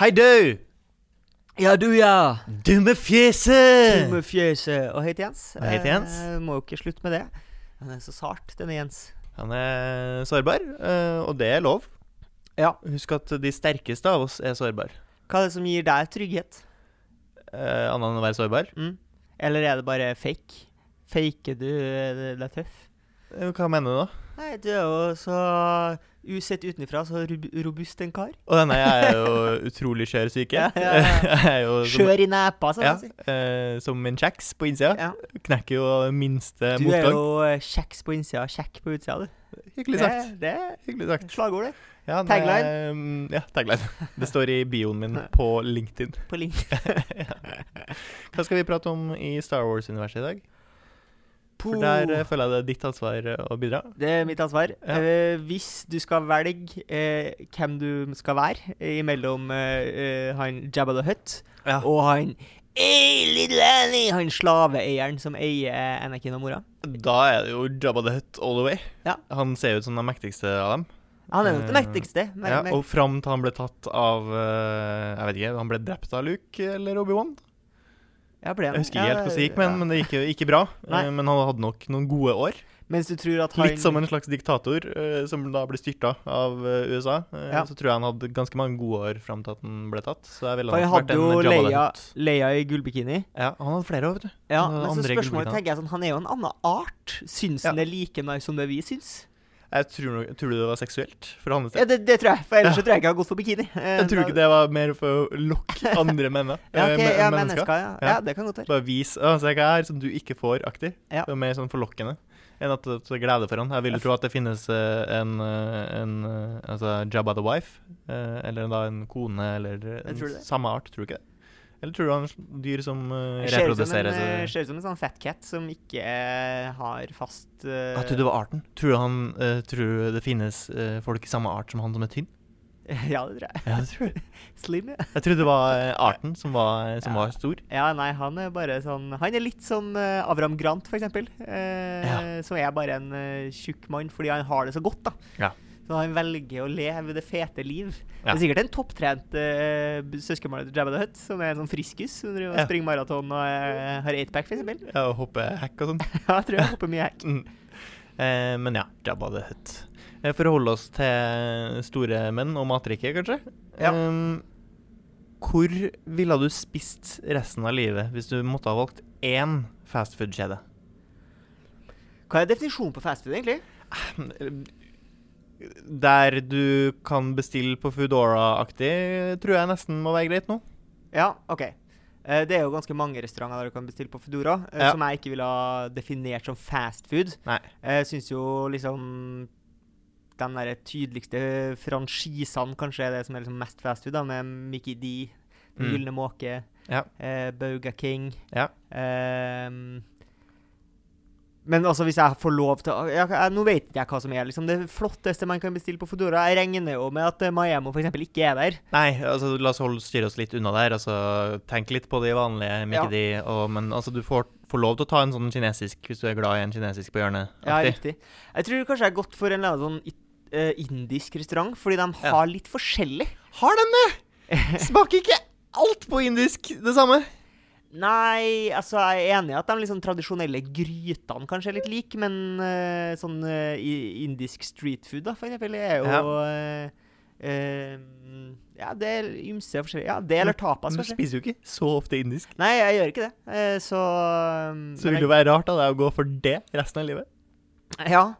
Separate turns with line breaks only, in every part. Hei, du!
Ja, du, ja.
Dumme fjeset!
Dumme fjeset. Og hei til Jens.
Eh. Og hei til Jens.
Eh, må jo ikke slutte med det. Han er så sart, denne Jens.
Han er sårbar, eh, og det er lov.
Ja.
Husk at de sterkeste av oss er sårbare.
Hva er det som gir deg trygghet?
Uh, Annet enn å være sårbar.
Mm? Eller er det bare fake? Faker du eh, deg tøff?
Eh, Hva mener du da?
Nei, du er jo så Usett utenfra, så rub- robust en kar.
Å nei, jeg er jo utrolig skjør syke.
Ja, ja, ja.
Jeg er jo som,
Skjør i nepa, sånn
ja,
å si.
eh, som en kjeks på innsida.
Ja.
Knekker jo minste
Du er
motgang.
jo eh, kjeks på innsida, kjekk på utsida, du.
Hyggelig sagt.
Det, det
Hyggelig sagt.
er slagord, det.
Ja, det-
Tagline?
mm, ja, tagline. Det står i bioen min på LinkedIn.
På link.
Hva skal vi prate om i Star Wars-universet i dag? For
Puh.
der eh, føler jeg det er ditt ansvar eh, å bidra.
Det er mitt ansvar.
Ja.
Eh, hvis du skal velge eh, hvem du skal være eh, imellom eh, eh, han Jabba the Hutt
Ja.
og han hey, Little Annie, han slaveeieren som eier eh, Anakin og mora.
Da er det jo Jabba the Hutt all the way.
Ja.
Han ser ut som den mektigste av dem.
Han er nok
Eh,
den mektigste. Men,
Ja,
men,
og fram til han ble tatt av eh, Jeg vet ikke, han ble drept av Luke eller Obi-Wan?
ja, ble han.
Jeg husker
Ja,
ikke helt hvordan det gikk, men,
ja.
men det gikk jo ikke bra.
Nei.
Eh, Men han hadde nok noen gode år.
Mens du tror at han
Litt som en slags diktator eh, som da ble styrta av eh, USA. Eh,
Ja.
Så tror jeg han hadde ganske mange gode år fram til at han ble tatt. Så jeg ville
For
nok
han hadde
vært en
jo
Jabba the
Leia,
Hutt.
Leia i gullbikini.
Ja, han hadde flere år, vet du. Han
Ja,
hadde
men så
andre
spørsmålet
gullbikini.
tenker jeg sånn, han er jo en annen art. Syns
Ja.
han er like nice som det vi syns?
Jeg tror, nok- tror du det var seksuelt for hans del?
Ja, det, det tror jeg, for ellers
Ja.
så tror jeg ikke han har gått for bikini. eh,
Jeg tror ikke det var mer for å lokke andre menner.
Ja,
eh,
ok,
men-
ja,
mennesker.
mennesker, ja.
Ja.
ja. Det kan godt være.
Bare vis «Å, se hva jeg er, som du ikke får, aktig.
Ja.
Det var mer sånn forlokkende enn at det er glede for han. Jeg vil jo tro at det finnes eh, en, eh, en eh, altså Jabba the Wife, eh, eller da en kone, eller en
tror det.
samme art, tror du ikke det? Eller tror du han er en dyr som eh,
Det ser ut som en,
reproduserer
eh,
seg?
ser ut som en sånn fat cat som ikke eh, har fast eh,
Jeg tror det var arten. Tror du han, eh, tror du det finnes eh, folk i samme art som han som er tynn?
Ja, det tror jeg.
Ja, det tror jeg.
Slim, ja.
Jeg trodde det var eh, arten som var, som
Ja.
var stor.
Ja, nei, han er bare sånn Han er litt som eh, Avram Grant, for eksempel. eh,
Ja.
Som er bare en eh, tjukk mann fordi han har det så godt, da.
Ja.
Så han velger å leve det fete liv.
Ja.
Det er sikkert en topptrent uh, søskenbarn til Jabba the Hutt, som er en sånn friskus. Som driver og
Ja.
springer maraton og eh, har eightpack, for eksempel.
Ja, og hopper hekk og sånn.
Ja, jeg tror jeg hopper mye hekk.
Mm. Eh, men ja, Jabba the Hutt. Eh, for å holde oss til store menn og matriket, kanskje.
Ja.
Ehm, hvor ville du spist resten av livet hvis du måtte ha valgt én fastfood-kjede?
Hva er definisjonen på fastfood, egentlig?
Der du kan bestille på Foodora-aktig, tror jeg nesten må være greit nå.
Ja, OK. Eh, Det er jo ganske mange restauranter der du kan bestille på Foodora, eh,
Ja.
som jeg ikke ville ha definert som fast food. Eh,
Nei.
Jeg syns jo liksom de der tydeligste franchisene kanskje er det som er liksom mest fast food, da, med Mickey D, Den
Mm.
Gylne måke,
Ja.
eh, Bauga King
Ja.
ehm, men altså, hvis jeg får lov til å jeg, jeg, Nå vet ikke jeg hva som er liksom, det flotteste man kan bestille på Foodora. Jeg regner jo med at eh, Maemo f.eks. ikke er der.
Nei, altså la oss holde, styre oss litt unna der. Altså, tenk litt på de vanlige
Ja.
Mikkedi. Og, men altså, du får, får lov til å ta en sånn kinesisk hvis du er glad i en kinesisk på hjørnet.
Ja,
aktig.
riktig. Jeg tror kanskje jeg har gått for en eller annen sånn it- eh, indisk restaurant, fordi de
Ja.
har litt forskjellig.
Har de det? Smaker ikke alt på indisk det samme?
Nei, altså jeg er enig i at de liksom tradisjonelle grytene kanskje er litt like, men eh, sånn eh, i- indisk street food da, for eksempel, er jo
Ja.
eh, eh, ja, det er ymse forskjellig. Ja, det eller tapas,
Men du
kanskje.
spiser jo ikke så ofte indisk.
Nei, jeg gjør ikke det. eh, så um,
Så vil
men
det
jeg-
jo være rart av deg å gå for det resten av livet.
Ja.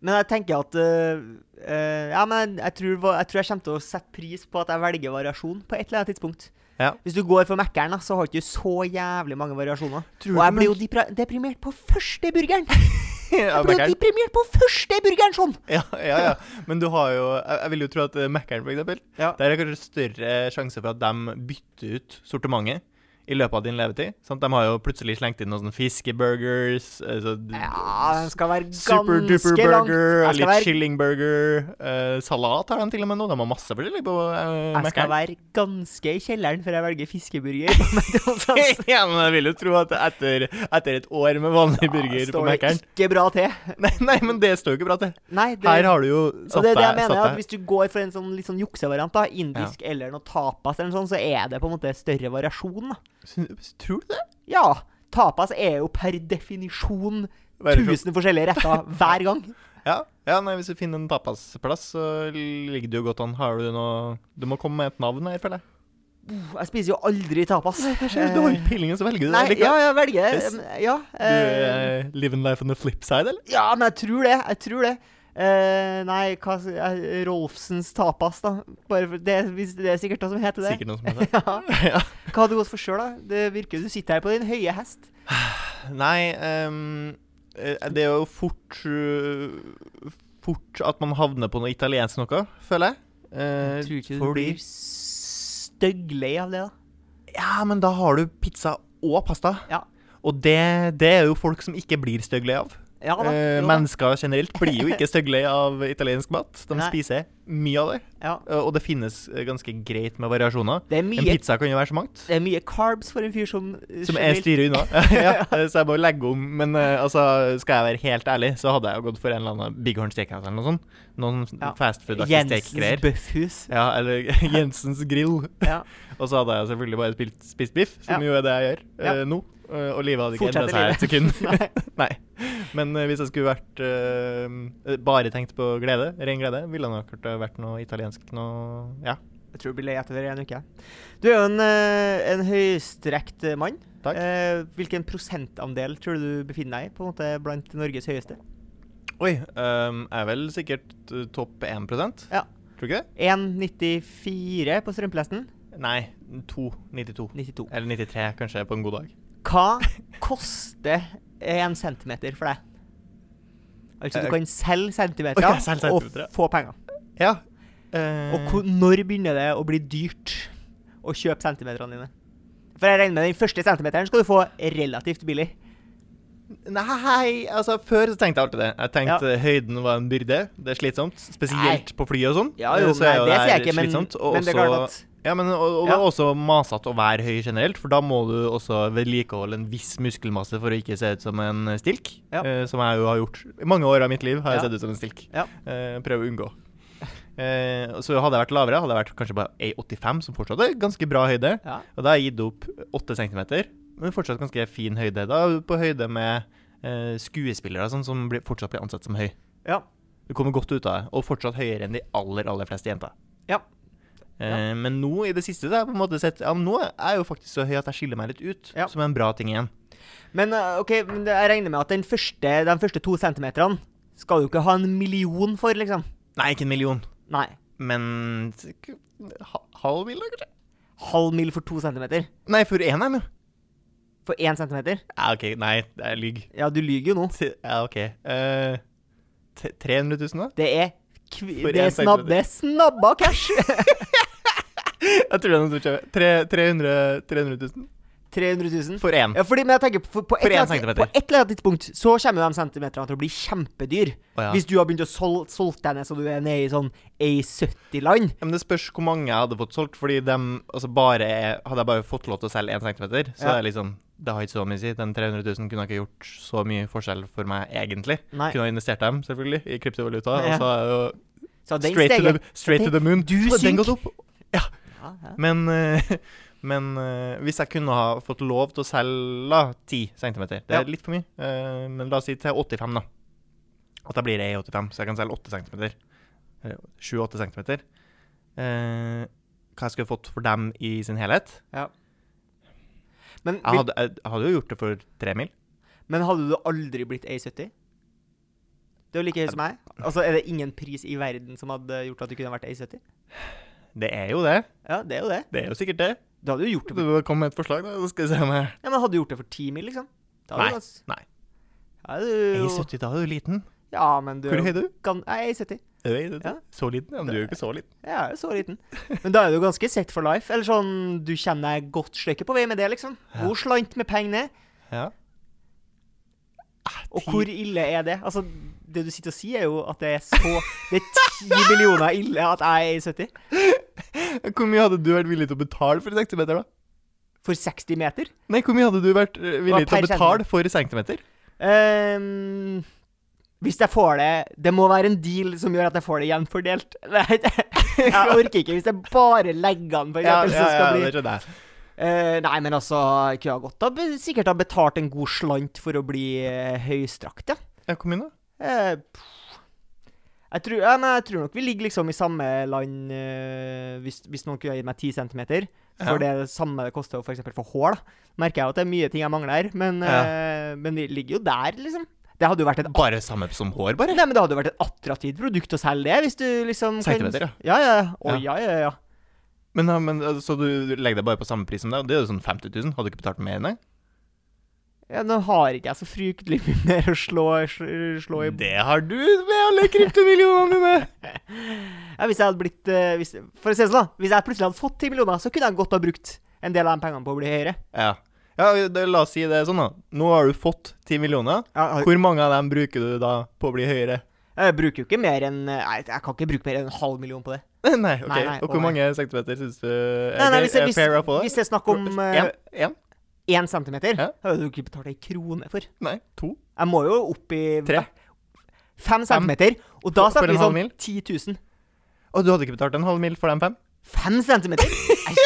Men jeg tenker at eh, eh, Ja, men jeg tror, va- jeg tror jeg kommer til å sette pris på at jeg velger variasjon på et eller annet tidspunkt.
Ja.
Hvis du går for Mækkern, da, så har du ikke så jævlig mange variasjoner.
Tror
Og
du
jeg blir jo
Mac-
depra- deprimert på første burgeren.
Ja,
Jeg blir jo
Mækkern.
deprimert på første burgeren, sånn!
ja, ja, ja. Men du har jo Jeg, jeg vil jo tro at eh, Mækkern, for eksempel,
Ja.
der er kanskje større sjanse for at de bytter ut sortimentet i løpet av din levetid. Sant? De har jo plutselig slengt inn noen sånne fiskeburgers. eh, så d-
Ja, den skal være ganske
Superduper
langt.
burger,
Jeg
og
skal
litt
være,
kyllingburger. eh, salat har de til og med nå. De har masse forskjellig på uh,
jeg skal være ganske i kjelleren før jeg velger fiskeburger. på McDonald's, ass.
ja, men jeg vil jo tro at etter, etter et år med vanlig burger på
står det
Mækkern
ikke bra til.
nei, nei, men det står jo ikke bra til.
Nei, det,
Her har du jo
og
satt
det er det
deg
jeg mener.
satt
at
deg-
Hvis du går for en sånn litt sånn juksevariant, da, indisk eller noe tapas, eller noe sånt, så er det på en måte større variasjon. da.
Syn- Tror du det?
Ja, tapas er jo per definisjon
Bare for-
tusen forskjellige retter hver gang.
Ja, ja nei, hvis du finner en tapasplass, så ligger du jo godt an. Har du noe Du må komme med et navn her, føler jeg.
Uh, Jeg spiser jo aldri tapas.
Kanskje du har ikke peiling, så velger du det.
Eh, Nei, ja,
likevel.
jeg velger
Yes.
eh, Ja.
Du
eh,
er living life on the flip side, eller?
Ja, men jeg tror det. Jeg tror det. Eh, nei, hva s- eh, Rolfsens tapas, da. Bare for, det, hvis det er sikkert noe som heter det.
Sikkert noen som heter det.
Ja.
ja.
Hva hadde du gått for sjøl, da? Det virker Du sitter her på din høye hest.
Nei, ehm, eh, det er jo fort øh, Fort at man havner på noe italiensk noe, føler jeg. Eh,
jeg tror ikke du
fordi-
blir stygglei av det, da.
Ja, men da har du pizza og pasta.
Ja.
Og det, det er jo folk som ikke blir styggelige av.
Ja da.
Eh,
jo da.
mennesker generelt blir jo ikke styggelige av italiensk mat. De
Nei.
spiser mye av det,
ja.
eh, og det finnes eh, ganske greit med variasjoner.
Det, er
En
mye,
pizza kan jo være så mangt.
det er mye carbs for en fyr som eh,
Som jeg
generelt-
styrer unna. ja, eh, så jeg må legge om. Men eh, altså, skal jeg være helt ærlig, så hadde jeg jo gått for en eller annen Big Horn Steakhouse eller noe sånt. Noen
Ja.
fastfood-aktige
Jensens
steakgreier.
Bøffhus.
Ja, eller Jensens grill.
Ja.
Og så hadde jeg selvfølgelig bare spilt, spist biff, som
Ja.
jo er det jeg gjør
Ja.
eh, nå. Eh, og livet hadde ikke
Fortsetter
endret seg et sekund.
Nei.
Nei. Men eh, hvis jeg skulle vært eh, eh, bare tenkt på glede, ren glede, ville det nok vært noe italiensk noe Ja,
Jeg tror du blir lei etter en uke. Du er jo en, eh, en høystrekt eh, mann.
takk.
Eh, hvilken prosentandel tror du du befinner deg i på en måte blant Norges høyeste?
Oi. ehm, jeg er vel sikkert eh, topp 1
Ja.
Tror du ikke det?
1,94 på strømpelesten.
Nei, 2. 92.
92.
Eller 93, kanskje, på en god dag.
Hva koster en centimeter for deg? Altså, du
Eh,
kan selge centimeter,
ok, selge centimeter, ja. Mm.
og få penger.
Ja. Eh,
Og hvor, når begynner det å bli dyrt å kjøpe centimeterne dine? For jeg regner med den første centimeteren skal du få relativt billig.
Nei, altså før så tenkte jeg alltid det. Jeg tenkte høyden var en byrde. Det er slitsomt. Spesielt på fly og sånn.
Ja, jo,
Så
Eh, nei,
er jo
det sier jeg
her
ikke, men,
slitsomt, og
men det er
også-
klart at
Ja, men og, og
Ja.
også masete å være høy generelt, for da må du også vedlikeholde en viss muskelmasse for å ikke se ut som en stilk,
Ja.
eh, som jeg jo har gjort. I mange år av mitt liv har jeg
Ja.
sett ut som en stilk.
Ja.
Eh, prøver å unngå. Eh, så hadde jeg vært lavere, hadde jeg vært kanskje bare 1,85, som fortsatt er ganske bra høyde.
ja.
Og da har jeg gitt opp 8 cm, men fortsatt ganske fin høyde. Da er du på høyde med eh, skuespillere sånn, som blir, fortsatt blir ansett som høy.
Ja.
Du kommer godt ut av det, og fortsatt høyere enn de aller, aller fleste jenter.
Ja.
Eh, men nå i det siste så har jeg på en måte sett Ja, men nå er jeg jo faktisk så høy at jeg skiller meg litt ut,
Ja.
som er en bra ting igjen.
Men eh, ok, men det- jeg regner med at den første, de første to centimeterne skal du ikke ha en million for, liksom.
Nei, ikke en million,
Nei.
men t- k- ha, halv mil, da, kanskje?
Halv mil for to centimeter.
Nei, for én, jeg, men.
For én centimeter?
Ja, OK, nei, det er lyg.
Ja, du lyver jo nå.
T- Ja, OK. Eh, t- 300 000, da?
Det er kvi,
For
det er
én
snab,
centimeter.
det er snabba cash!
Jeg tror det er noe som skjer. Tre- 300 300 000
300 000.
for én.
Ja, fordi, men jeg tenker, på, på, et
For én
eller annet,
centimeter.
på et eller annet tidspunkt så kommer jo de centimeterne til å bli kjempedyr.
Å, ja.
Hvis du har begynt å sol, solgt deg ned så du er nede i sånn A70-land.
Ja, Men det spørs hvor mange jeg hadde fått solgt, fordi dem, altså bare, er- hadde jeg bare fått lov til å selge 1 cm, så
Ja.
er det liksom Det har ikke så mye å si. Den 300 000 kunne ikke gjort så mye forskjell for meg, egentlig.
Nei.
Kunne ha investert dem, selvfølgelig, i kryptovaluta,
Ja.
og så er jo
Så den
straight, to
steget
the, straight to the moon.
Du
Så den
synk.
gått opp.
ja, ja.
Men, eh, men eh, hvis jeg kunne ha fått lov til å selge da, 10 cm Det
Ja.
er litt for mye, eh, men la oss si til 85, da. At da blir det 85, så jeg kan selge 8 cm. 7-8 cm. Eh, Hva jeg skulle fått for dem i sin helhet?
Men,
Jeg
vil-
hadde, jeg hadde jo gjort det for 3 mil.
Men hadde du aldri blitt A70? Du er jo like høy som meg. Altså, Er det ingen pris i verden som hadde gjort at du kunne vært A70?
Det er jo det.
Ja, det er jo det.
Det er jo sikkert det.
Du hadde jo gjort det
Du
for,
kom med et forslag, da. så skal vi se om jeg
ja, men hadde du gjort det for 10 mil, liksom? Da hadde
Nei,
du ganske-
nei.
Ja, du,
A70, da er du liten.
ja, men du
Hvor høy er du?
Kan, nei, A70.
Øy, du-
Ja.
Så liten? Ja, men du er jo ikke så liten.
Jeg er jo så liten. Men da er du ganske set for life. Eller sånn, du kommer deg godt stykke på vei med det, liksom.
Ja.
Hvor slant med penger er,
Ja.
og
Ti-
hvor ille er det? Altså, det du sitter og sier, er jo at det er så Det er ti millioner ille at jeg er 70.
Hvor mye hadde du vært villig til å betale for centimeter, da?
For 60 meter.
Nei, hvor mye hadde du vært eh, villig
Hva,
til å
per
betale for centimeter?
Ehm, hvis jeg får det Det må være en deal som gjør at jeg får det gjenfordelt. Nei, det- jeg orker ikke. Hvis jeg bare legger an, for eksempel, så skal det bli
det skjønner jeg.
Eh, nei, men altså, jeg kunne ha godt ha be- sikkert ha betalt en god slant for å bli eh, høystrakt, ja.
Ja, hvor mye da?
Eh, pff. jeg, tror, ja men jeg tror nok vi ligger liksom i samme land eh, hvis, hvis noen kunne ha gitt meg 10 centimeter. For det er det samme det koster å for eksempel få hår, da. Merker jeg jo at det er mye ting jeg mangler, men, eh, men vi ligger jo der, liksom. Det hadde jo vært et
Bare samme som hår, bare?
Nei, men det hadde jo vært et attraktivt produkt å selge det, hvis du liksom kan-
Centimeter, ja.
Ja, ja. Å, ja, ja, ja.
Men, ja, men altså, Så du legger deg bare på samme pris som deg, og det er jo sånn 50 000? Hadde du ikke betalt mer, nei?
ja. Nå har ikke jeg så fryktelig mye mer å slå, slå i
Det har du med alle kryptomillionene dine!
Ja, hvis jeg hadde blitt eh, hvis, For å si det sånn, da. Hvis jeg plutselig hadde fått 10 millioner, så kunne jeg godt ha brukt en del av de pengene på å bli høyere.
Ja. ja, det- la oss si det er sånn, da. Nå har du fått 10 millioner.
Jeg,
Hvor mange av dem bruker du da på å bli høyere?
jeg bruker jo ikke mer enn eh, Nei, jeg kan ikke bruke mer enn en halv million på det.
Nei, ok.
Nei, nei,
og
å,
hvor
nei.
mange centimeter syns du er,
Nei, nei, hvis,
er
hvis,
fair å få?
hvis det er snakk om eh,
Én? Én?
én centimeter,
Ja.
hadde du ikke betalt ei krone for.
Nei, to?
Jeg må jo opp i
Tre?
fem centimeter, og da
For- for
snakker
en
vi
halv
sånn
mil?
10 000.
Og du hadde ikke betalt en halv mil for de fem?
Fem centimeter? Nei,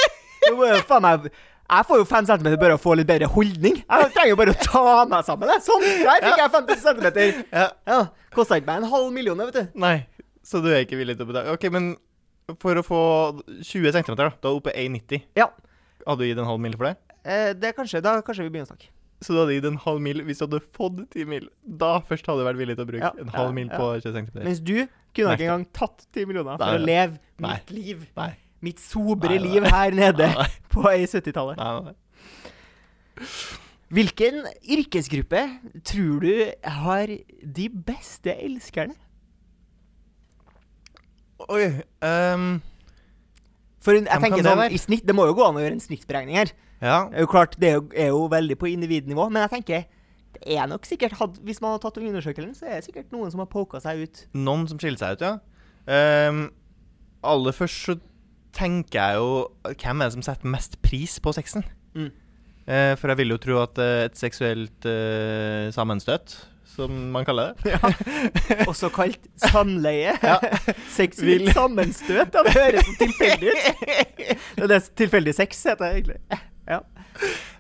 det må jo faen meg jeg får jo fem centimeter bare å få litt bedre holdning. Jeg trenger jo bare å ta meg sammen. jeg. Sånn! Der fikk jeg 50 centimeter.
Ja.
Ja, Kosta ikke meg en halv million, det, vet du.
Nei, så du er ikke villig til å betale? Ok, men for å få 20 cm, da, da er du oppe i 1,90.
Ja.
Hadde du gitt en halv mil for det?
Eh, det er kanskje, da kanskje vi begynner å snakke.
Så du hadde gitt en halv mil hvis du hadde fått 10 mil. Da først hadde du vært villig til å bruke
Ja,
en halv
ja,
mil
ja.
på 20 cm.
Mens du kunne ikke engang tatt 10 millioner for
Nei,
å leve
nei.
mitt liv.
Nei.
Mitt sobre
Nei, nei.
liv her nede
Nei,
på ei 70-tallet.
nei, nei.
Hvilken yrkesgruppe tror du har de beste elskerne?
Oi ehm,
For jeg
Hvem
tenker
kan det
sånn,
være?
i snitt, Det må jo gå an å gjøre en snittberegning her.
Ja.
Det er jo klart, Det er jo, er jo veldig på individnivå, men jeg tenker det er nok sikkert, had, Hvis man har tatt den undersøkelsen, så er det sikkert noen som har poka seg ut.
Noen som skiller seg ut, ja. Ehm, aller først så tenker jeg jo Hvem er det som setter mest pris på sexen?
Mm.
Eh, for jeg vil jo tro at eh, et seksuelt eh, sammenstøt, som man kaller det
Også kalt samleie.
Ja.
Seksuelt
Vil-
sammenstøt. Ja, det høres så tilfeldig ut. Det er det s- tilfeldig sex, heter det egentlig. Ja.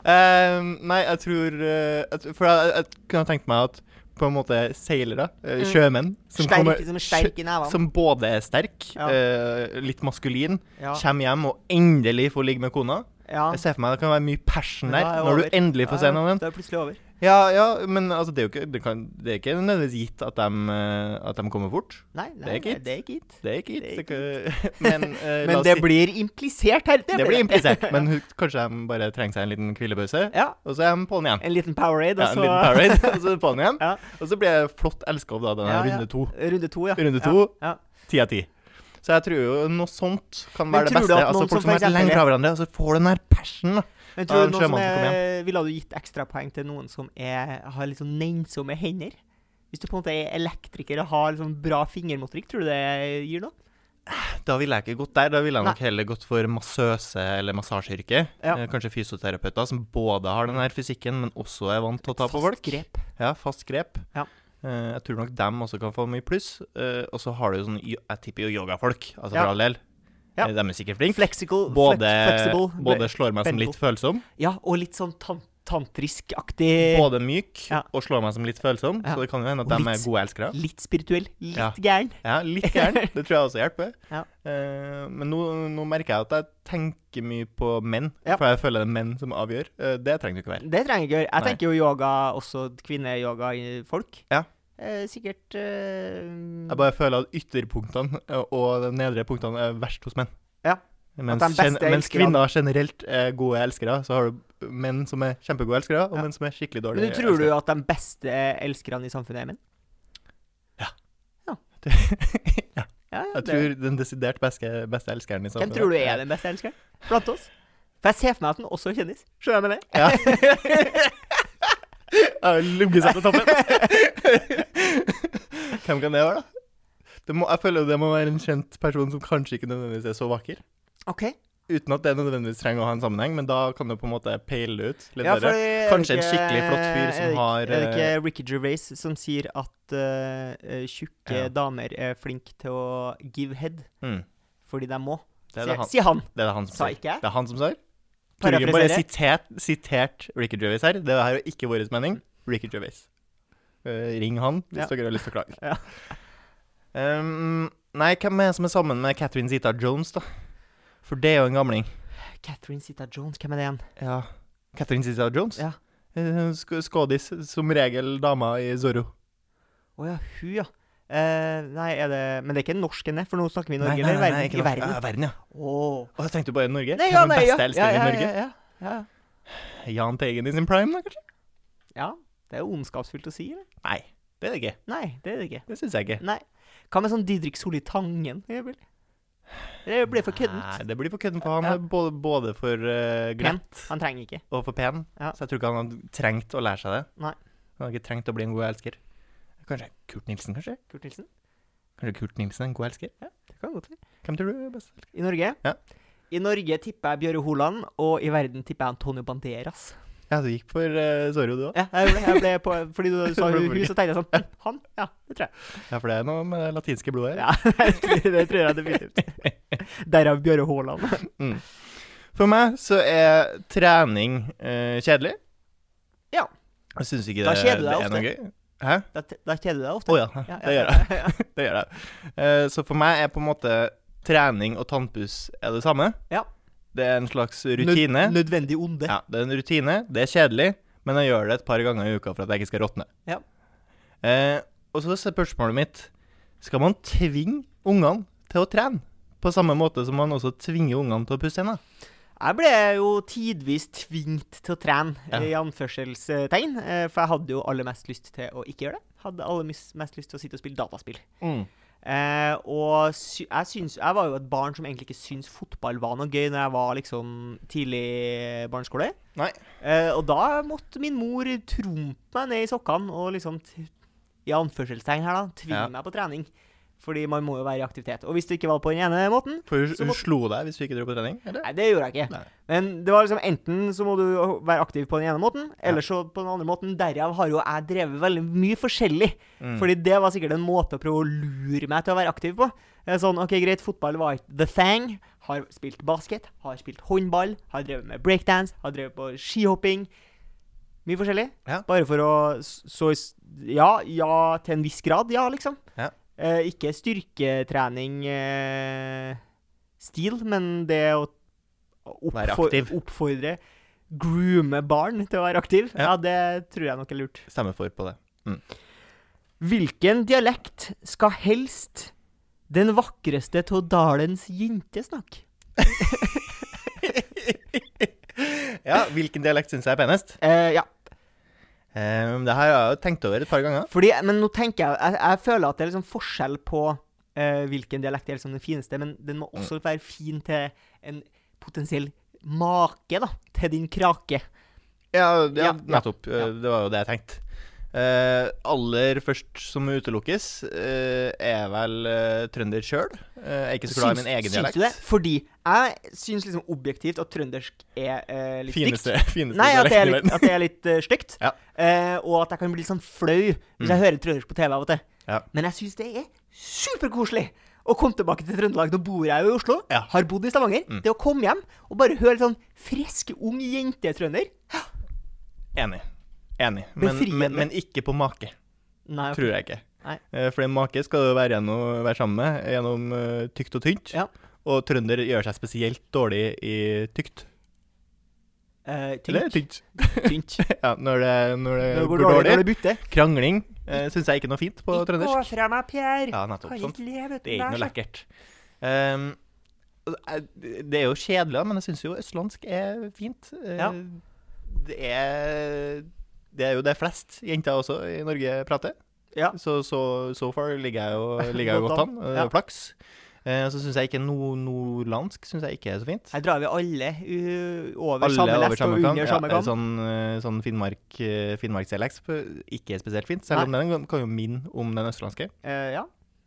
Ehm, nei, jeg tror eh, at, For jeg, jeg kunne ha tenkt meg at på en måte seilere, eh,
Mm. liksom
sjømenn
Sterk, som er sterk i nevene.
som både er sterk,
Ja.
eh, litt maskulin,
Ja.
kommer hjem og endelig får ligge med kona.
Ja.
Jeg ser for meg det kan være mye passion
Men da
der
er det
når
over.
du endelig får se noen.
Det er plutselig over.
Ja, ja, men altså, det er jo ikke, det kan, det er ikke nødvendigvis gitt at de, eh, at de kommer fort.
Nei, nei,
Det er ikke
nei,
gitt.
det er ikke gitt.
Det er ikke gitt.
Det er
det kan- Men, eh, la
Men
oss
det
si-
blir implisert her.
det blir implisert. Men hun- kanskje de bare trenger seg en liten hvilepause,
Ja.
og så er de på'n igjen.
En liten Powerade,
Ja,
og
en
så
liten parade, og så på'n igjen.
Ja.
Og så blir jeg flott elska av da, denne
Ja, ja.
runde to.
Runde to, ja.
Runde to.
Ja. ja.
Ti av ti. Så jeg tror jo noe sånt kan være
Men
det
tror du
beste.
at
Altså
noen
Folk
som
som
for
er lenge
eksempel-
fra hverandre, og så får du den der passionen, da.
Men
Ja,
tror
en
du noen som
sjømann som kommer
er, ville du gitt ekstrapoeng til noen som er, har litt sånn nennsomme hender? Hvis du på en måte er elektriker og har liksom bra fingermotorikk, tror du det gir noe?
Da ville jeg ikke gått der. Da ville jeg nok heller gått for massøse eller massasjeyrket.
Ja.
Eh, Kanskje fysioterapeuter som både har den her fysikken, men også er vant til å ta på folk.
Fast grep.
Ja, fast grep.
Ja.
Eh, jeg tror nok dem også kan få mye pluss. Eh, og så har du jo sånn yo- Jeg tipper jo yogafolk, altså
Ja.
for all del.
Ja.
Eh, De er sikkert flinke.
Flexical,
Både,
flex, flexible.
både slår meg som
bendable.
litt følsom,
Ja, og litt sånn tan tantrisk-aktig.
både myk
Eh, Ja.
og slår meg som litt følsom,
Ja.
så det kan jo hende at
Og
de er
litt-
gode elskere.
Litt spirituell. Litt
Ja.
gæren.
Ja, litt gæren. Det tror jeg også hjelper.
Ja.
Eh, men nå, nå merker jeg at jeg tenker mye på menn,
Ja.
for jeg føler det er menn som avgjør. Eh, det trenger du ikke være.
Det trenger jeg ikke gjøre. Jeg
Nei.
tenker jo yoga, også kvinneyoga-folk.
Ja.
Eh, sikkert eh,
Jeg bare føler at ytterpunktene eh, og de nedre punktene er verst hos menn.
Ja.
Mens,
At de
gen
beste
mens
elskerne-
kvinner generelt er gode elskere, så har du menn som er kjempegode elskere, og
Ja.
menn som er skikkelig
Men
dårlige.
du tror du at de beste elskerne i samfunnet er menn?
elskere.
Ja, ja,
Jeg
det-
tror den desidert beste, beste elskeren i
Hvem
samfunnet.
tror du er den beste elskeren blant oss? For jeg ser for meg at han også er kjendis. Skjønner jeg med det?
Ja. Ja, Lugge seg på toppen. Hvem kan det være, da? Det må, jeg føler det må være en kjent person som kanskje ikke nødvendigvis er så vakker.
Ok.
Uten at det nødvendigvis trenger å ha en sammenheng, men da kan du på en måte peile det ut. Litt
Ja,
bedre.
fordi er det
Kanskje en
ikke-
skikkelig flott fyr som
er det, ikke-
har, eh,
Er det ikke Ricky Gervais som sier at eh, eh, tjukke
Ja.
damer er flinke til å give head
Mm.
fordi de må?
Det, er det,
Sier-
han,
Sier han.
det er det han som
Sa
sier.
ikke jeg?
Det er han som sier. Torgrim bare
Parafraserer.
sitert, sitert Ricky Gervais her. Det her er jo ikke vår mening. Ricky Gervais. Eh, ring han hvis
Ja.
dere har lyst til å klage.
Ja.
Ehm, nei, hvem er det som er sammen med Catherine Zita Jones, da? For det er jo en gamling.
Catherine Zita Jones, hvem er det igjen?
Ja. Catherine Zita Jones?
Ja.
Eh, sk skådis. Som regel dama i Zorro.
Å ja, hun, ja. Eh, nei, er det Men det er ikke norsk henne, for nå snakker vi i Norge, eller verden?
ikke
I
noe-
verden.
Ja, verden, ja.
Åh.
Og jeg tenkte bare Norge.
Nei,
Hvem
ja,
er den
nei, ja.
beste elskeren
Ja, ja,
i Norge?
Ja, ja, ja. ja.
Jahn Teigen i sin prime, da, kanskje?
ja, det er jo ondskapsfullt å si, eller?
Nei, det er det ikke.
Nei, det er det ikke.
Det syns jeg ikke.
Nei. Hva med sånn Didrik Solli Tangen? Det blir- Det blir for
Nei,
køddent.
det blir for køddent for ham.
Ja.
Både, både for uh, greit
Pen. Han trenger ikke.
og for pen.
Ja.
Så jeg tror ikke han hadde trengt å lære seg det.
Nei.
Han hadde ikke trengt å bli en god elsker. Kanskje Kurt Nilsen, kanskje?
Kurt Nilsen?
Kanskje Kurt Nilsen er en god elsker?
Det kan godt være.
Hvem tror du er best elsker?
I Norge?
Ja.
I Norge tipper jeg Bjøre Holand, og i verden tipper jeg Antonio Banderas.
Ja, du gikk for eh, Zorro, du òg?
Ja, jeg ble, jeg ble på, fordi du sa
Du ble
hun,
borgerlig.
så tenkte jeg sånn hm, Han? Ja, det tror jeg.
Ja, for det er noe med det latinske blodet her.
Ja, Det tror jeg definitivt. Derav Bjøre Haaland.
For meg så er trening eh, kjedelig.
Ja.
Jeg syns ikke
Da
det,
kjeder du
det
deg
er noe gøy. Hæ?
Da, da kjeder du deg
Å
ofte.
ja.
Ja,
Det gjør jeg.
jeg.
Det gjør jeg. Eh, så for meg er på en måte trening og tannpuss er det samme.
Ja.
Det er en slags rutine.
Nødvendig onde.
Ja, det er en rutine. Det er kjedelig, men jeg gjør det et par ganger i uka for at jeg ikke skal råtne.
Ja.
Eh, og så er spørsmålet mitt Skal man tvinge ungene til å trene? På samme måte som man også tvinger ungene til å pusse tenna?
Jeg ble jo tidvis tvingt til å trene,
Ja.
i anførselstegn. eh, For jeg hadde jo aller mest lyst til å ikke gjøre det. Hadde aller mis- mest lyst til å sitte og spille dataspill. Eh, og sy jeg, syns, jeg var jo et barn som egentlig ikke syntes fotball var noe gøy når jeg var liksom tidlig barneskole.
Nei.
Eh, og da måtte min mor trumpe meg ned i sokkene og liksom, t- i anførselstegn her, da, tvinge
Ja.
meg på trening. Fordi man må jo være i aktivitet. Og hvis du ikke var på den ene måten,
For hun,
Så
hun
må-
slo deg hvis du ikke dro på trening? Eller?
Nei, det gjorde jeg ikke.
Nei.
Men det var liksom enten så må du være aktiv på den ene måten, eller så på den andre måten. Derav har jo jeg drevet veldig mye forskjellig.
Mm.
Fordi det var sikkert en måte å prøve å lure meg til å være aktiv på. Eh, Sånn, ok, greit, fotball var ikke the thing. Har spilt basket, har spilt håndball, har drevet med breakdance, har drevet på skihopping. Mye forskjellig.
Ja.
Bare for å s- så s- Ja, ja til en viss grad, ja, liksom.
Ja.
Eh, ikke styrketrening eh, stil, men det å
Være
oppfor-
aktiv.
oppfordre Groome barn til å være aktiv.
Ja.
Ja, det tror jeg nok er lurt.
Stemmer for på det.
Hvilken dialekt skal helst den vakreste av dalens jente snakke?
Ja, hvilken dialekt syns jeg er penest?
Eh, ja,
Um, det har jeg jo tenkt over et par ganger.
fordi, men nå tenker jeg, jeg Jeg føler at det er liksom forskjell på eh, hvilken dialekt er liksom den fineste, men den må også være fin til en potensiell make, da, til din krake.
Ja, ja,
Ja,
nettopp.
ja.
Eh, Det var jo det jeg tenkte. Eh, aller først som utelukkes, eh, er vel eh, trønder sjøl. Eh, jeg er ikke så glad i min egen dialekt.
du det? Fordi jeg syns liksom objektivt at trøndersk er eh, litt stygt.
Fineste, fineste
Nei, at det er
dialekten i
litt,
verden.
at det er litt eh, stygt.
Ja. Mm.
Eh, og at jeg kan bli litt sånn flau hvis jeg hører trøndersk på TV av og til.
Ja.
Men jeg syns det er superkoselig å komme tilbake til Trøndelag. Nå bor jeg jo i Oslo,
Ja. Mm.
har bodd i Stavanger. Det å komme hjem og bare høre litt sånn frisk, ung jentetrønder
Enig. Enig. Men,
Befriende.
men, men ikke på make,
Nei, ok.
tror jeg ikke.
Nei.
Eh, fordi make skal du være, gjennom, være sammen med gjennom eh, tykt og tynt.
Ja.
Og trønder gjør seg spesielt dårlig i tykt.
Eh,
Eller
tynt.
tynt.
tynt.
Ja, når det, når det
Det går dårlig når det butter.
Krangling uh, syns jeg ikke noe fint på trøndersk.
Gå fra meg, Pierre.
Ja, nettopp. Sånn.
kan
Sånt.
ikke leve uten
Det er ikke noe
deg.
lekkert. Ehm, jeg- det er jo kjedelig, da, men jeg syns jo østlandsk er fint. Eh,
Ja.
Det er Det er jo det flest jenter også i Norge prater.
Ja.
Så, så so far ligger jeg jo, ligger jeg jo
Godt
godt an. eh,
Ja.
Flaks. Eh, så syns jeg ikke no, nordlandsk synes jeg ikke er så fint.
Her drar vi alle u- over
Alle
samme
er
lest og
kam.
under
Ja,
samme kam.
sånn eh, sånn Finnmark, eh, Finnmarks-dialekt sp- ikke er spesielt fint, selv om den kan jo minne om den østlandske.
Eh, ja.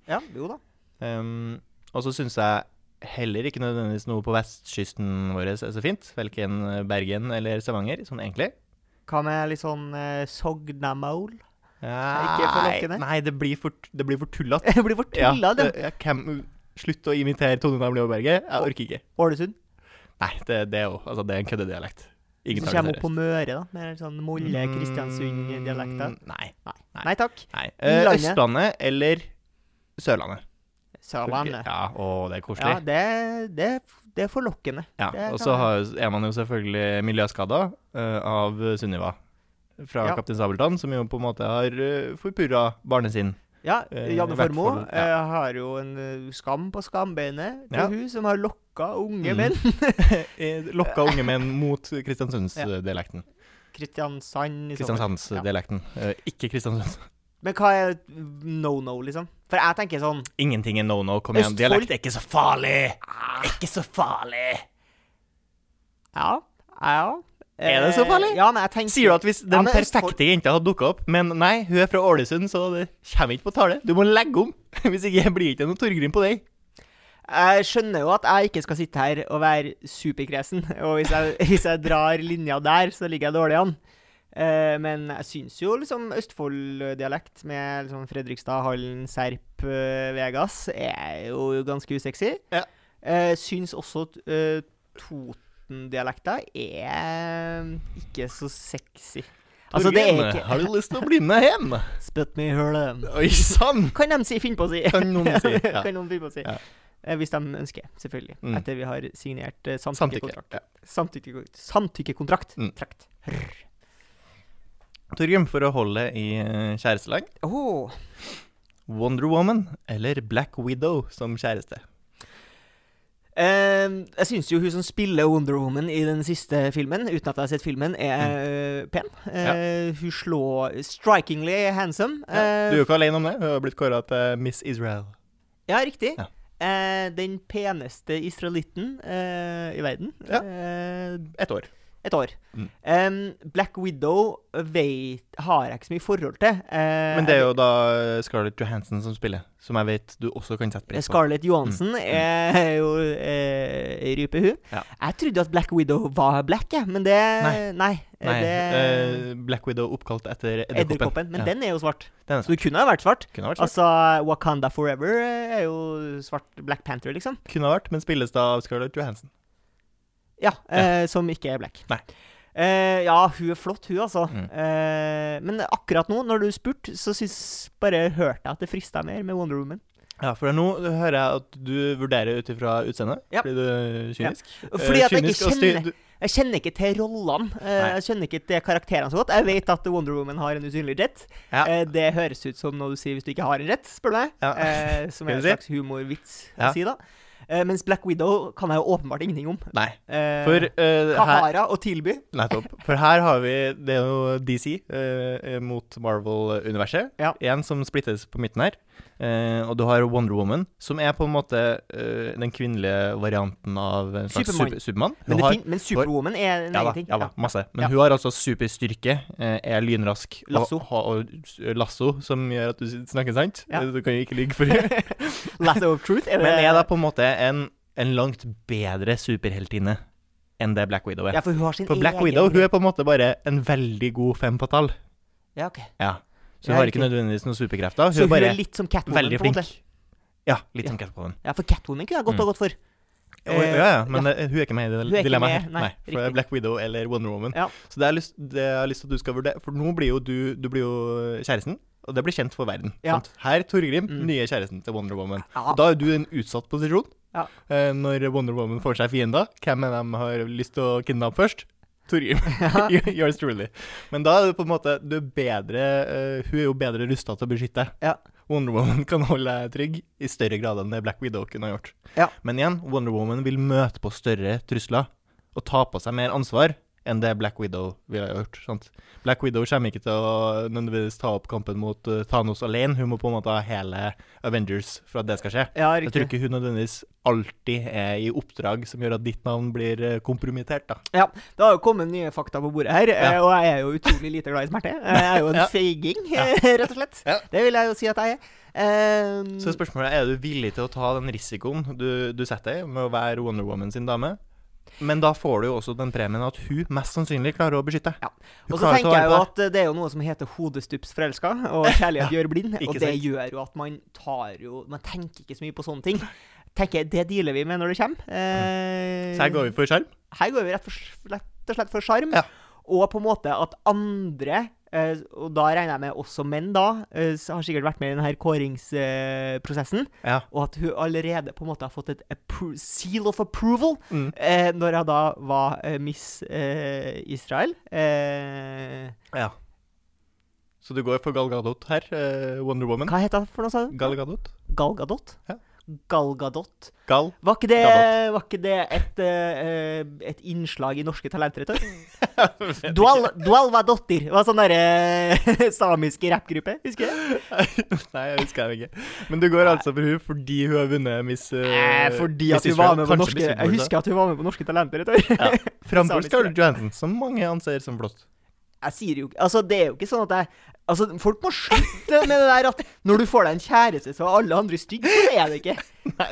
ja. Jo da.
Um, og så syns jeg heller ikke nødvendigvis noe på vestkysten vår er så fint. Verken Bergen eller Stavanger, sånn egentlig.
Hva med litt sånn uh, Sognamaul?
Nei,
forlokkende.
Nei, det blir for, det blir for tullete.
Det blir for tulla, det.
det- jeg kan- Slutt å imitere Tone Damli Aaberge. Jeg orker ikke.
Ålesund.
Nei, det, det er jo Altså, det er en køddedialekt. Ingen
Så
tar det
kommer opp på Møre, da. Med litt sånn Molle-Kristiansund-dialekter.
Mm, Nei. nei.
Nei takk.
nei. Eh,
Landet.
Østlandet eller Sørlandet.
Sørlandet.
Ja, å, det er koselig.
Ja, det, det, det er forlokkende.
Ja,
Det
og
kan
så har- er man jo selvfølgelig miljøskada eh, av Sunniva fra
Ja.
Kaptein Sabeltann, som jo på en måte har uh, forpurra barnet sin.
Ja,
Eh,
Janne
i hvert
Formoe
fall, ja.
eh, har jo en eh, skam på skambeinet til
Ja.
hun som har lokka unge
Mm.
menn.
Eh, Lokka unge menn mot Kristiansundsdialekten.
Kristiansand. i så fall.
Kristiansandsdialekten. Eh, ikke Kristiansund.
Men hva er no-no, liksom? For jeg tenker sånn
Ingenting er no no. Kom igjen,
Østfold?
dialekt er ikke så farlig! Ikke så farlig!
Ja, ja. eh,
Er det så farlig?
Ja, men jeg tenker,
Sier du at hvis
Ja,
den
men Østfold-
perfekte jenta hadde dukka opp Men nei, hun er fra Ålesund, så det kommer ikke på tale. Du må legge om! Hvis ikke blir det ikke noe Torgrim på deg.
Jeg skjønner jo at jeg ikke skal sitte her og være superkresen. Og hvis jeg, hvis jeg drar linja der, så ligger jeg dårlig an. Eh, men jeg syns jo liksom Østfold-dialekt med liksom Fredrikstad, Hallen, Serp, eh, Vegas er jo ganske usexy.
Ja.
Eh, syns også t- eh, Toten-dialekter er ikke så sexy. Altså, det er
Torgrim,
ikke
Har du lyst til å bli med hjem?
Spytt me i hullet.
Oi sann!
Kan de si, finne på å si.
Kan noen si, ja.
kan noen finne på å si.
Ja.
Eh, Hvis de ønsker, selvfølgelig.
Mm.
Etter vi har signert eh,
Samtykke.
samtykkekontrakt.
Ja.
Samtykkekontrakt. Samtykkekontrakt.
Mm.
Trakt.
Torgrim, for å holde i eh, kjærestelag,
Åh.
Wonder Woman eller Black Widow som kjæreste?
Eh, jeg syns jo hun som spiller Wonder Woman i den siste filmen, uten at jeg har sett filmen, er
Mm.
eh, pen. Eh, Hun slår strikingly handsome. Eh,
Du er jo ikke alene om det. Hun har blitt kåra til Miss Israel.
Ja, riktig.
Ja.
Eh, den peneste israelitten eh, i verden.
Ja.
Eh,
Ett år.
et år.
Mm.
Eh, Black Widow vet, har jeg ikke så mye forhold til. Eh,
Men det er jo da Scarlett Johansson som spiller, som jeg vet du også kan sette pris på.
eh, Scarlett Johansen er jo eh, ei rype, hun.
Mm. Ja.
Jeg trodde at Black Widow var black, jeg, men det Nei.
Nei.
eh,
Nei,
det,
eh, Black Widow oppkalt etter edderkoppen.
Edderkoppen. Men
ja.
den er jo svart.
den er
Så
svart.
det kunne ha vært svart.
Kunne ha vært svart.
Altså, Wakanda Forever eh, er jo svart Black Panther, liksom.
Kunne ha vært, men spilles da av Scarlett Johansson.
Ja, eh, som ikke er black.
Nei.
Eh, ja, hun er flott, hun, altså.
Mm.
Eh, men akkurat nå, når du spurte, så syns bare hørte jeg at det frista mer med Wonder Woman.
Ja, for nå hører jeg at du vurderer ut ifra utseendet.
Ja.
Blir du er kynisk?
Fordi
Eh,
at jeg
kynisk
ikke
og styr-
kjenner
du-
Jeg kjenner ikke til rollene. eh,
Nei.
jeg kjenner ikke til karakterene så godt. Jeg vet at Wonder Woman har en usynlig jet.
Ja.
Eh, det høres ut som noe du sier hvis du ikke har en jet, spør du meg.
Ja.
Eh, som
Skal
er en
vi
slags humorvits
Ja.
å si, da. Eh, mens Black Widow kan jeg jo åpenbart ingenting om.
Nei.
Eh,
For eh,
hva
her
har hun å tilby?
Nettopp. For her har vi Det er jo DC eh, mot Marvel-universet.
Ja.
En som splittes på midten her. Eh, og du har Wonder Woman, som er på en måte eh, den kvinnelige varianten av en slags
Superman.
super, Supermann. Hun
Men, det
har-
fin men Superwoman er en
ja,
egen
da,
ting.
ja da, masse. Men
Ja.
hun har altså superstyrke, eh, er lynrask og-
Lasso.
Og, og, eh, lasso, som gjør at du snakker sant.
Ja.
Eh, Du kan jo ikke ligge for henne.
Lasso of Truth er det.
Men er da på en måte en, en langt bedre superheltinne enn det Black Widow er.
ja, for hun har sin
For Black
egen
Widow hun
greie.
er på en måte bare en veldig god fem på tall.
ja, ok.
Ja. Så
Ja,
hun har ikke
riktig.
nødvendigvis noen superkrefter. Hun
Så
er bare
hun er litt som Catwoman?
veldig
på en måte.
flink. Mm. Ja, litt
Ja. sånn
som Catwoman.
Ja, for Catwoman kunne jeg godt ha gått for.
Ja, ja, ja, men eh, hun er ikke med i
Hun er
det
ikke
dilemmaet
med,
her.
nei,
Nei, for det
riktig.
er Black Widow eller Wonder Woman.
Ja.
Så det, er lyst, det jeg har lyst til at du skal vurdere For nå blir jo du, du blir jo kjæresten, og det blir kjent for verden.
Ja.
Sant? Her, Torgrim,
Mm.
nye kjæresten til Wonder Woman.
Ja.
Og Da er du i en utsatt posisjon.
Ja.
Eh, når Wonder Woman får seg fiender, hvem er de har lyst til å kidnappe først? Torgrim. Yours truly. Men da er du på en måte Du er bedre eh, Hun er jo bedre rusta til å beskytte deg.
Ja.
Wonder Woman kan holde deg trygg i større grad enn det Black Widow kunne ha gjort.
Ja.
Men igjen, Wonder Woman vil møte på større trusler og ta på seg mer ansvar enn det Black Widow ville ha gjort. sant? Black Widow kommer ikke til å nødvendigvis ta opp kampen mot eh, Thanos alene. Hun må på en måte ha hele Avengers for at det skal skje.
Ja,
Jeg tror
riktig.
ikke hun nødvendigvis alltid er i oppdrag som gjør at ditt navn blir eh, kompromittert, da.
Det har jo kommet nye fakta på bordet her, eh,
Ja.
og jeg er jo utrolig lite glad i smerte. Eh, Jeg er jo en
Ja.
feiging,
Ja.
rett og slett.
Ja.
Det vil jeg jo si at jeg er. Ehm,
Så spørsmålet er, er du villig til å ta den risikoen du, du setter deg med å være Wonder Woman sin dame? Men da får du jo også den premien at hun mest sannsynlig klarer å beskytte.
Ja.
Hun
og så
klarer til å
tenker jeg jo
være der.
at eh, det er jo noe som heter hodestups forelska, og kjærlighet gjør blind.
ikke
Og det
sant.
gjør jo at man tar jo Man tenker ikke så mye på sånne ting. Tenker jeg, Det dealer vi med når det kommer. Eh,
Mm. Så her går vi for skjerm.
her går vi rett, for, rett og slett for sjarm.
Ja.
Og på en måte at andre, eh, og da regner jeg med også menn, da, eh, s- har sikkert vært med i denne kåringsprosessen.
Ja.
Og at hun allerede på en måte har fått et appro seal of approval
Mm.
eh, når hun da var eh, Miss eh, Israel. Eh,
ja. Så du går for Gal Gadot her, eh, Wonder Woman.
hva heter hun for noe, sa du?
Gal Gadot.
Gal Gadot?
Ja.
Gal Gadot.
Gal.
Var ikke det,
Gadot.
var ikke det et, eh, et innslag i Norske Talenter et år?
Vet
Dual, Dualvadotter var sånn derre eh, samiske rappgruppe, husker jeg.
Nei, jeg husker det ikke. Men du går altså for hun fordi hun har vunnet Miss eh,
Eh, fordi
Miss
at hun
Israel.
var med på
Kanskje
norske
Miss
Jeg
Universe.
husker at hun var med på Norske Talenter et år.
Framfor
Samisk
Scarlett Johansson, som mange anser som flott.
Jeg sier jo ikke Altså, det er jo ikke sånn at jeg Altså, folk må slutte med det der at når du får deg en kjæreste, så er alle andre stygge. Sånn er det ikke.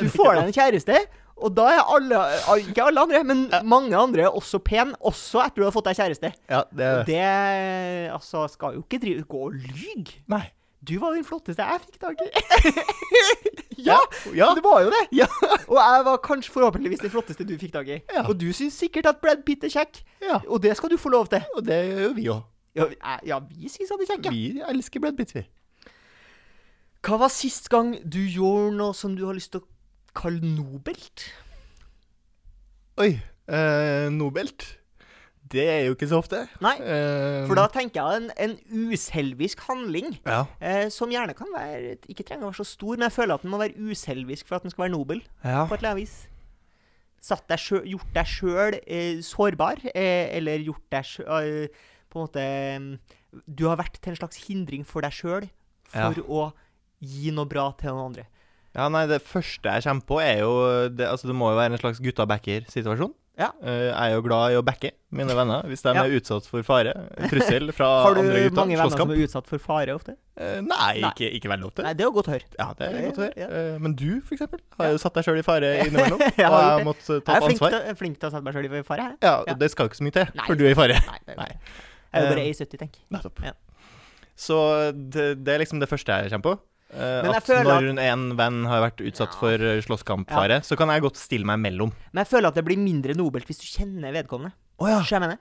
Du får deg en kjæreste, og da er alle al- Ikke alle andre, men mange andre er også pen, også etter du har fått deg kjæreste.
Ja, det
Og det Altså, skal jo ikke drive gå og lyge.
Nei.
Du var den flotteste jeg fikk tak i. ja,
Ja.
det var jo det.
Ja.
Og jeg var kanskje forhåpentligvis den flotteste du fikk tak i.
Ja.
Og du syns sikkert at Brad Pitt er kjekk,
ja.
og det skal du få lov til.
Og det gjør jo vi òg.
Ja, vi- jeg- ja vi syns han er kjekk, ja.
Vi elsker Brad Pitt, vi.
Hva var sist gang du gjorde noe som du har lyst til å kalle nobelt?
Oi. Eh, Nobelt. Det er jo ikke så ofte.
Nei,
Eh,
for da tenker jeg en, en uselvisk handling.
Ja.
Eh, som gjerne kan være Ikke trenger å være så stor, men jeg føler at den må være uselvisk for at den skal være nobel.
ja.
på et eller annet vis. Satt deg sjø, gjort deg sjøl eh, sårbar, eh, eller gjort deg sjøl eh, På en måte eh, Du har vært til en slags hindring for deg sjøl for
Ja.
å gi noe bra til noen andre.
Ja, nei, det første jeg kommer på er jo det, altså det må jo være en slags gutta-backer-situasjon.
Ja.
Eh, jeg er jo glad i å backe mine venner hvis de
Ja.
er utsatt for fare, trussel fra
Har du
andre gutter,
mange venner som
slåsskamp.
er utsatt for fare ofte?
Eh, nei,
Nei.
Ikke, ikke veldig ofte.
Nei, det er jo godt å høre.
Ja, det er
Det-
godt å høre.
ja.
Eh, men du, for eksempel, har jo satt deg sjøl i fare innimellom.
Jeg
og
har
jeg har
gjort
måttet ta
Jeg er flink
ansvar.
til, jeg er flink til å sette meg sjøl i fare, jeg.
Ja,
Ja.
Det skal jo ikke så mye til
Nei.
før du er i fare.
Nei, det er jo
Nei.
ikke. Jeg er jo bare
Eh,
A70, tenk.
Nettopp.
Ja.
Så det, det er liksom det første jeg kommer på. Eh,
Men jeg
at
føler
når en venn har vært utsatt
Ja.
for eh, slåsskampfare, så kan jeg godt stille meg mellom.
Men jeg føler at det blir mindre nobelt hvis du kjenner vedkommende.
Å ja.
Skjønner jeg mener?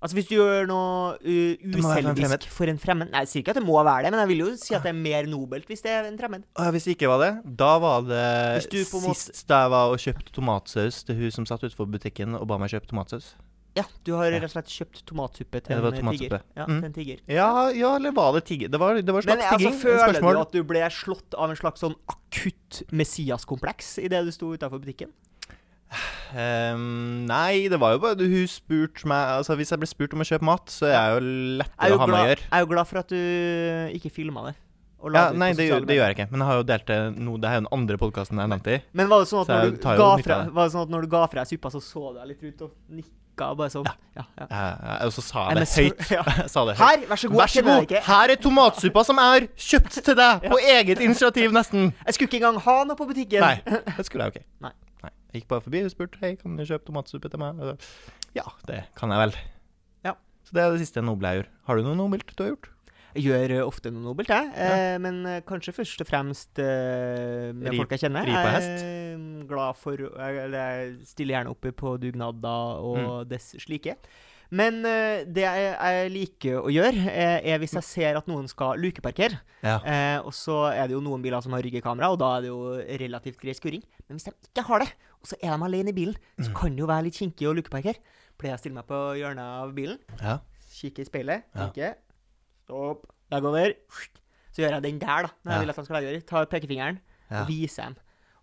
Altså Hvis du gjør noe uh,
må være for en
uselvisk
fremmed.
for en fremmed Nei, jeg sier ikke at det må være det, men jeg vil jo si at det er mer nobelt hvis det er en fremmed.
Å ja, hvis det ikke var det, da var det
Hvis du på en måte-
sist da jeg var og kjøpte tomatsaus til hun som satt utenfor butikken og ba meg kjøpe tomatsaus.
Ja, du har rett og slett kjøpt tomatsuppe
Ja,
til
det var
en eh,
tomatsuppe.
tiger. Ja,
Mm.
til en tiger.
Ja, ja, eller var det tigging? Det var, det var
Men
slags
altså,
tigging.
føler
spørsmål.
du at du ble slått av en slags sånn akutt Messias-kompleks idet du sto utafor butikken?
Ehm, nei, det var jo bare Hun spurte meg Altså, hvis jeg ble spurt om å kjøpe mat, så er jeg jo
Jeg er
lettere
jo,
å ha med å
glad,
gjøre.
jeg er jo glad for at du ikke filma det. Og
Ja,
ut på
nei, det,
sosiale
gjør- det gjør jeg ikke. Men jeg har jo delt det nå. Det er jo den andre podkasten jeg nevnte i.
Men var det sånn at,
Så
når
jeg
du,
tar jo
ga
nytte
fra,
av det.
var det sånn at når du ga fra deg suppa, så så du deg litt rundt og nikka og bare sånn? Ja, ja.
Eh, Og så sa
Jeg
jeg det
misunner-
høyt.
Ja.
Jeg sa det høyt.
Her, vær så god.
Vær så god,
Jeg,
her er tomatsuppa som jeg har kjøpt til deg på eget initiativ, nesten.
jeg skulle ikke engang ha noe på butikken.
Nei, det skulle jeg jo ikke.
Nei.
Nei. Jeg gikk bare forbi og spurte Hei, kan du kjøpe tomatsuppe til meg. Og så, Ja, det kan jeg vel.
Ja.
Så det er det siste noble jeg gjør. Har du noe nobelt du har gjort?
Jeg gjør eh, ofte noe nobelt, jeg. Eh, men eh, kanskje først og fremst eh, med
Ri-
folk jeg kjenner.
ri på
Jeg er glad for eh, Eller jeg stiller gjerne opp på dugnader og
Mm.
dess slike. Men eh, det jeg, jeg liker å gjøre, eh, er hvis jeg ser at noen skal lukeparkere.
Ja.
Eh, og så er det jo noen biler som har ryggekamera, og da er det jo relativt grei skuring. Men hvis de ikke har det, og så er de alene i bilen, så
Mm.
kan det jo være litt kinkig å lukeparkere. Pleier jeg å stille meg på hjørnet av bilen.
ja.
kikke i speilet,
Ja.
tenke Stopp. Jeg går over. Så gjør jeg den der, da.
Ja.
Når jeg vil at han skal gjøre. Tar pekefingeren
Ja.
og viser dem.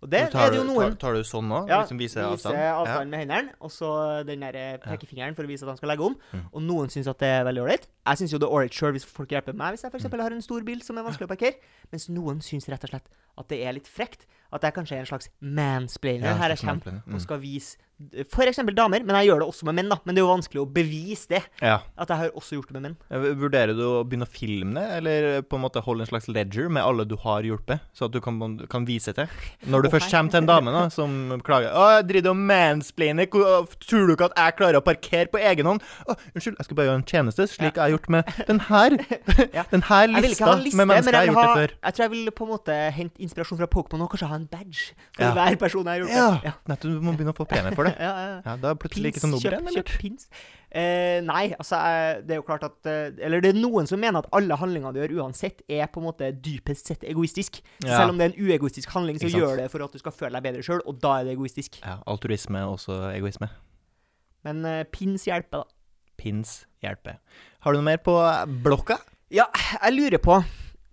Og det
tar,
er det jo
du-
noen.
Tar, tar du sånn nå?
Ja,
liksom viser
vise
avstand?
avstand med hendene, og så den der eh, pekefingeren for å vise at de skal legge om.
Mm.
Og noen syns at det er veldig ålreit. Jeg syns jo det er ålreit sjøl hvis folk hjelper meg, hvis jeg f.eks.
Mm.
har en stor bil som er vanskelig å parkere. Mens noen syns rett og slett at det er litt frekt. At jeg kanskje er en slags mansplainer.
Ja,
Her jeg
slags
kommer
mansplainer. Mm.
og skal vise f.eks. damer, men jeg gjør det også med menn, da. Men det er jo vanskelig å bevise det.
Ja. ja.
At jeg har også gjort det med menn.
Eh, Vurderer du å begynne å filme det, eller på en måte holde en slags ledger med alle du har hjulpet, så at du kan, kan vise til? Når du
Å,
først
hei.
kommer til en dame da, som klager 'Å, jeg driver og mansplainer, Hvor- å, tror du ikke at jeg klarer å parkere på egen hånd?' Å, unnskyld, jeg skal bare gjøre en tjeneste, slik jeg har gjort med den her,
Ja.
den her
Jeg vil ikke ha
lista
en liste,
med
men
mennesker jeg har
jeg, vil
gjort
ha,
det før.
jeg tror jeg vil på en måte hente inspirasjon fra Pokémon og kanskje ha en badge for
Ja.
hver person jeg har
Ja,
gjort det.
nettopp, du må begynne å få premie for det.
Ja, ja, ja.
Ja, da er det plutselig ikke
Pins,
så nobel
kjøp,
igjen, eller?
kjøp pins. Eh, nei, altså eh, det er jo klart at eh, Eller det er noen som mener at alle handlinger du gjør uansett, er på en måte dypest sett egoistisk. Så
Ja.
Selv om det er en uegoistisk handling, så
Ikke sant.
gjør det for at du skal føle deg bedre sjøl, og da er det egoistisk.
Ja, altruisme er også egoisme.
Men eh, pins hjelper, da.
Pins hjelper. Har du noe mer på blokka?
Ja, jeg lurer på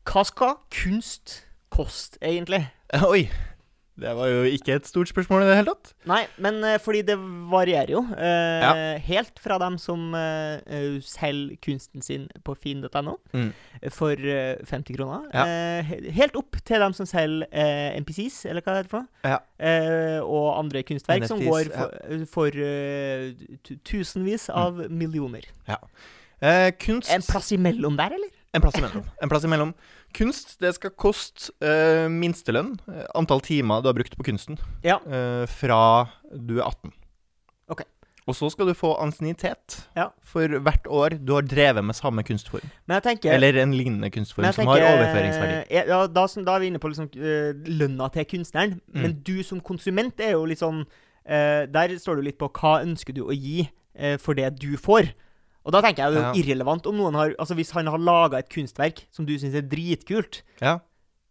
Hva skal kunst koste, egentlig?
Oi, det var jo ikke et stort spørsmål i det hele tatt.
Nei, men eh, fordi det varierer jo. eh,
Ja.
Helt fra dem som eh, eh, selger kunsten sin på finn.no
Mm.
for eh, 50 kroner,
Ja.
eh, he- helt opp til dem som selger eh, NPCs, eller hva det heter for noe,
Ja.
eh, og andre kunstverk som
NFTs,
går for, for eh, tu- tusenvis av millioner.
Eh, kunst
En plass imellom der, eller?
En plass imellom. En plass imellom. Kunst det skal koste eh, minstelønn, eh, antall timer du har brukt på kunsten,
Ja.
eh, fra du er 18.
Ok.
Og så skal du få ansiennitet
Ja.
for hvert år du har drevet med samme kunstform.
Men jeg tenker
Eller en lignende kunstform
men jeg
som har
tenker,
overføringsverdi.
eh, Ja, da, som- da er vi inne på liksom, eh, lønna til kunstneren.
Mm.
Men du som konsument er jo litt sånn eh, Der står du litt på hva ønsker du å gi eh, for det du får. Og da tenker jeg det er jo irrelevant om noen har Altså Hvis han har laga et kunstverk som du syns er dritkult,
Ja.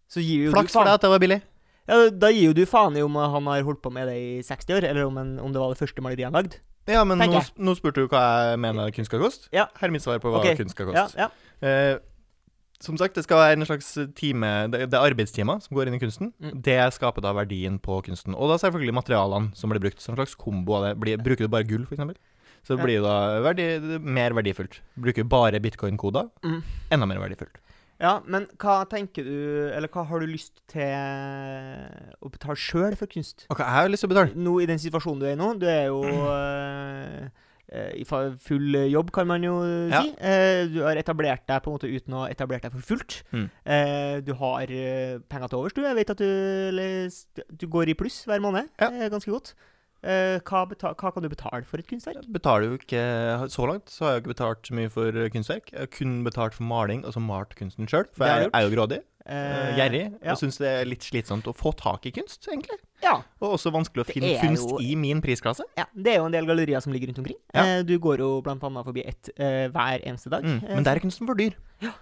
så gir jo
Flaks
du
for
faen.
deg at det var billig.
Ja, da gir jo du faen i om han har holdt på med det i 60 år, eller om, en, om det var det første maleriet han lagde.
Ja, men nå,
Tenker Eh,
sp- nå spurte du hva jeg mener kunst skal koste.
Ja.
Her er mitt svar på hva
Ok.
kunst skal koste.
Ja, ja.
Eh, som sagt, det skal være en slags time Det, det er arbeidstimer som går inn i kunsten.
Mm.
Det skaper da verdien på kunsten. Og da selvfølgelig materialene som blir brukt. Som en slags kombo av det. Blir, bruker du bare gull, f.eks., så
Ja.
blir det da verdi, mer verdifullt. Bruker du bare bitcoin-koder,
Mm.
enda mer verdifullt.
Ja, men hva tenker du Eller hva har du lyst til å betale sjøl for kunst?
Ok, jeg har lyst til å betale.
nå i den situasjonen du er i nå, du er jo eh, eh, i fa- full jobb, kan man jo
Ja.
si. Eh, du har etablert deg på en måte uten å ha etablert deg for fullt.
Mm.
Eh, du har eh, penger til overs, du. Jeg vet at du, eller s- du går i pluss hver måned.
Ja.
Eh, ganske godt. Eh, hva, beta hva kan du betale for et kunstverk?
Jeg betaler jo ikke Så langt så har jeg jo ikke betalt så mye for kunstverk. Jeg har kun betalt for maling, altså malt kunsten sjøl. For
Det har
jeg
jeg
er jo grådig,
Eh,
eh, gjerrig,
ja.
og syns det er litt slitsomt å få tak i kunst, egentlig.
Ja.
Og også vanskelig å
Det
finne
er
kunst
jo-
i min prisklasse.
ja. Det er jo en del gallerier som ligger rundt omkring.
Ja.
Eh, du går jo blant annet forbi ett eh, hver eneste dag.
Mm.
Eh,
Men der er kunsten for dyr.
Ja.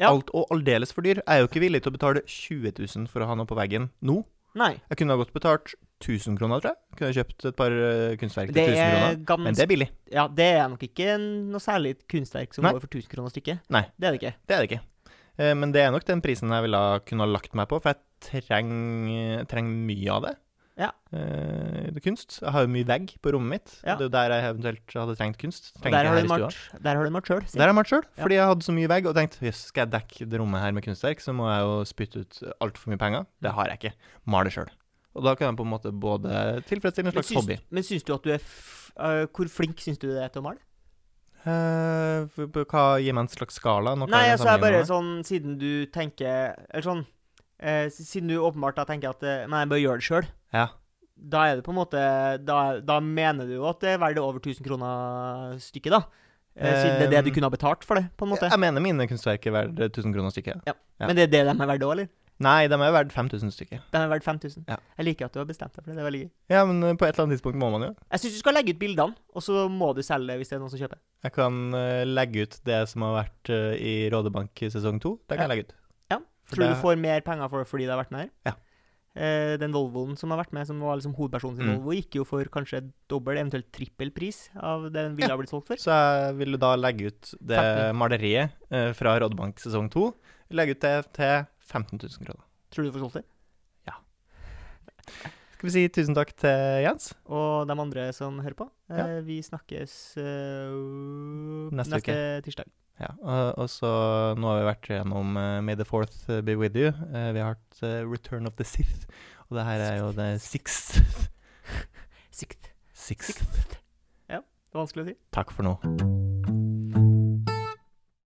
Alt og aldeles for dyr. Jeg er jo ikke villig til å betale 20 000 for å ha noe på veggen nå.
Nei.
Jeg kunne ha godt betalt 1000 kroner, tror jeg. Kunne ha kjøpt et par eh, kunstverk til
Det
1000
er
kroner. Men
ganske
det er billig.
Ja, det er nok ikke noe særlig kunstverk som
Nei.
går for 1000 kroner stykket.
Nei.
Det er det ikke.
Det er det ikke. Eh, Men det er nok den prisen jeg ville ha kunne ha lagt meg på, for jeg trenger treng mye av det.
Ja.
Eh, det er kunst. Jeg har jo mye vegg på rommet mitt.
Ja.
Det er jo der jeg eventuelt hadde trengt kunst.
Og
Trenger
der har,
ikke
du
her i stua.
malt, der har du malt sjøl.
Der har jeg malt sjøl,
Ja.
fordi jeg hadde så mye vegg og tenkte jøss, skal jeg dekke det rommet her med kunstverk, så må jeg jo spytte ut altfor mye penger. Det har jeg ikke. Male sjøl. Og da kan jeg på en måte både tilfredsstille en
Men,
slags
syns-
hobby.
men syns du at du er f øh, Hvor flink syns du du er til å male?
Eh, f- f- hva gir meg en slags skala? Noe
Nei,
jeg
altså jeg bare
sammenligner med?
sånn Siden du tenker Eller sånn eh, s- Siden du åpenbart da tenker at eh, Nei, jeg bør gjøre det sjøl.
Ja.
Da er det på en måte da, da mener du jo at det er verdt over 1000 kroner stykket, da. Eh, Siden det er det du
Ehm,
kunne ha betalt for det, på en måte.
Jeg mener mine kunstverk er verdt 1000 kroner stykket. ja.
Men det er det de er verdt òg, eller?
Nei, de er verdt 5000 stykket.
De er verdt 5000.
Ja.
Jeg liker at du har bestemt deg for det. Det er veldig gøy.
Ja, men eh, på et eller annet tidspunkt må man jo.
Jeg syns du skal legge ut bildene, og så må du selge det hvis det er noen som kjøper.
Jeg kan eh, legge ut det som har vært eh, i Rådebank i sesong to. Det kan
Ja.
jeg legge ut.
Ja.
For
Tror
det-
du får mer penger for det fordi det har vært med her?
Ja.
Eh, den Volvoen som har vært med, som var liksom hovedpersonen sin
Mm.
Volvo, gikk jo for kanskje dobbel, eventuelt trippel pris av det den ville ha blitt solgt for.
Så jeg ville da legge ut det
15.
maleriet eh, fra Rådbank sesong 2. Legge ut det til 15 000 kroner.
Tror du du får solgt det?
Ja. Skal vi si tusen takk til Jens.
Og de andre som hører på, eh,
Ja.
vi snakkes eh,
Neste
neste tirsdag.
Ja, og, og så Nå har vi vært gjennom eh, May the Fourth be with you. Eh, vi har hatt eh, Return of the Sith, og det her er jo the sixth.
Sikt.
sixth.
Det er vanskelig å si.
Takk for nå.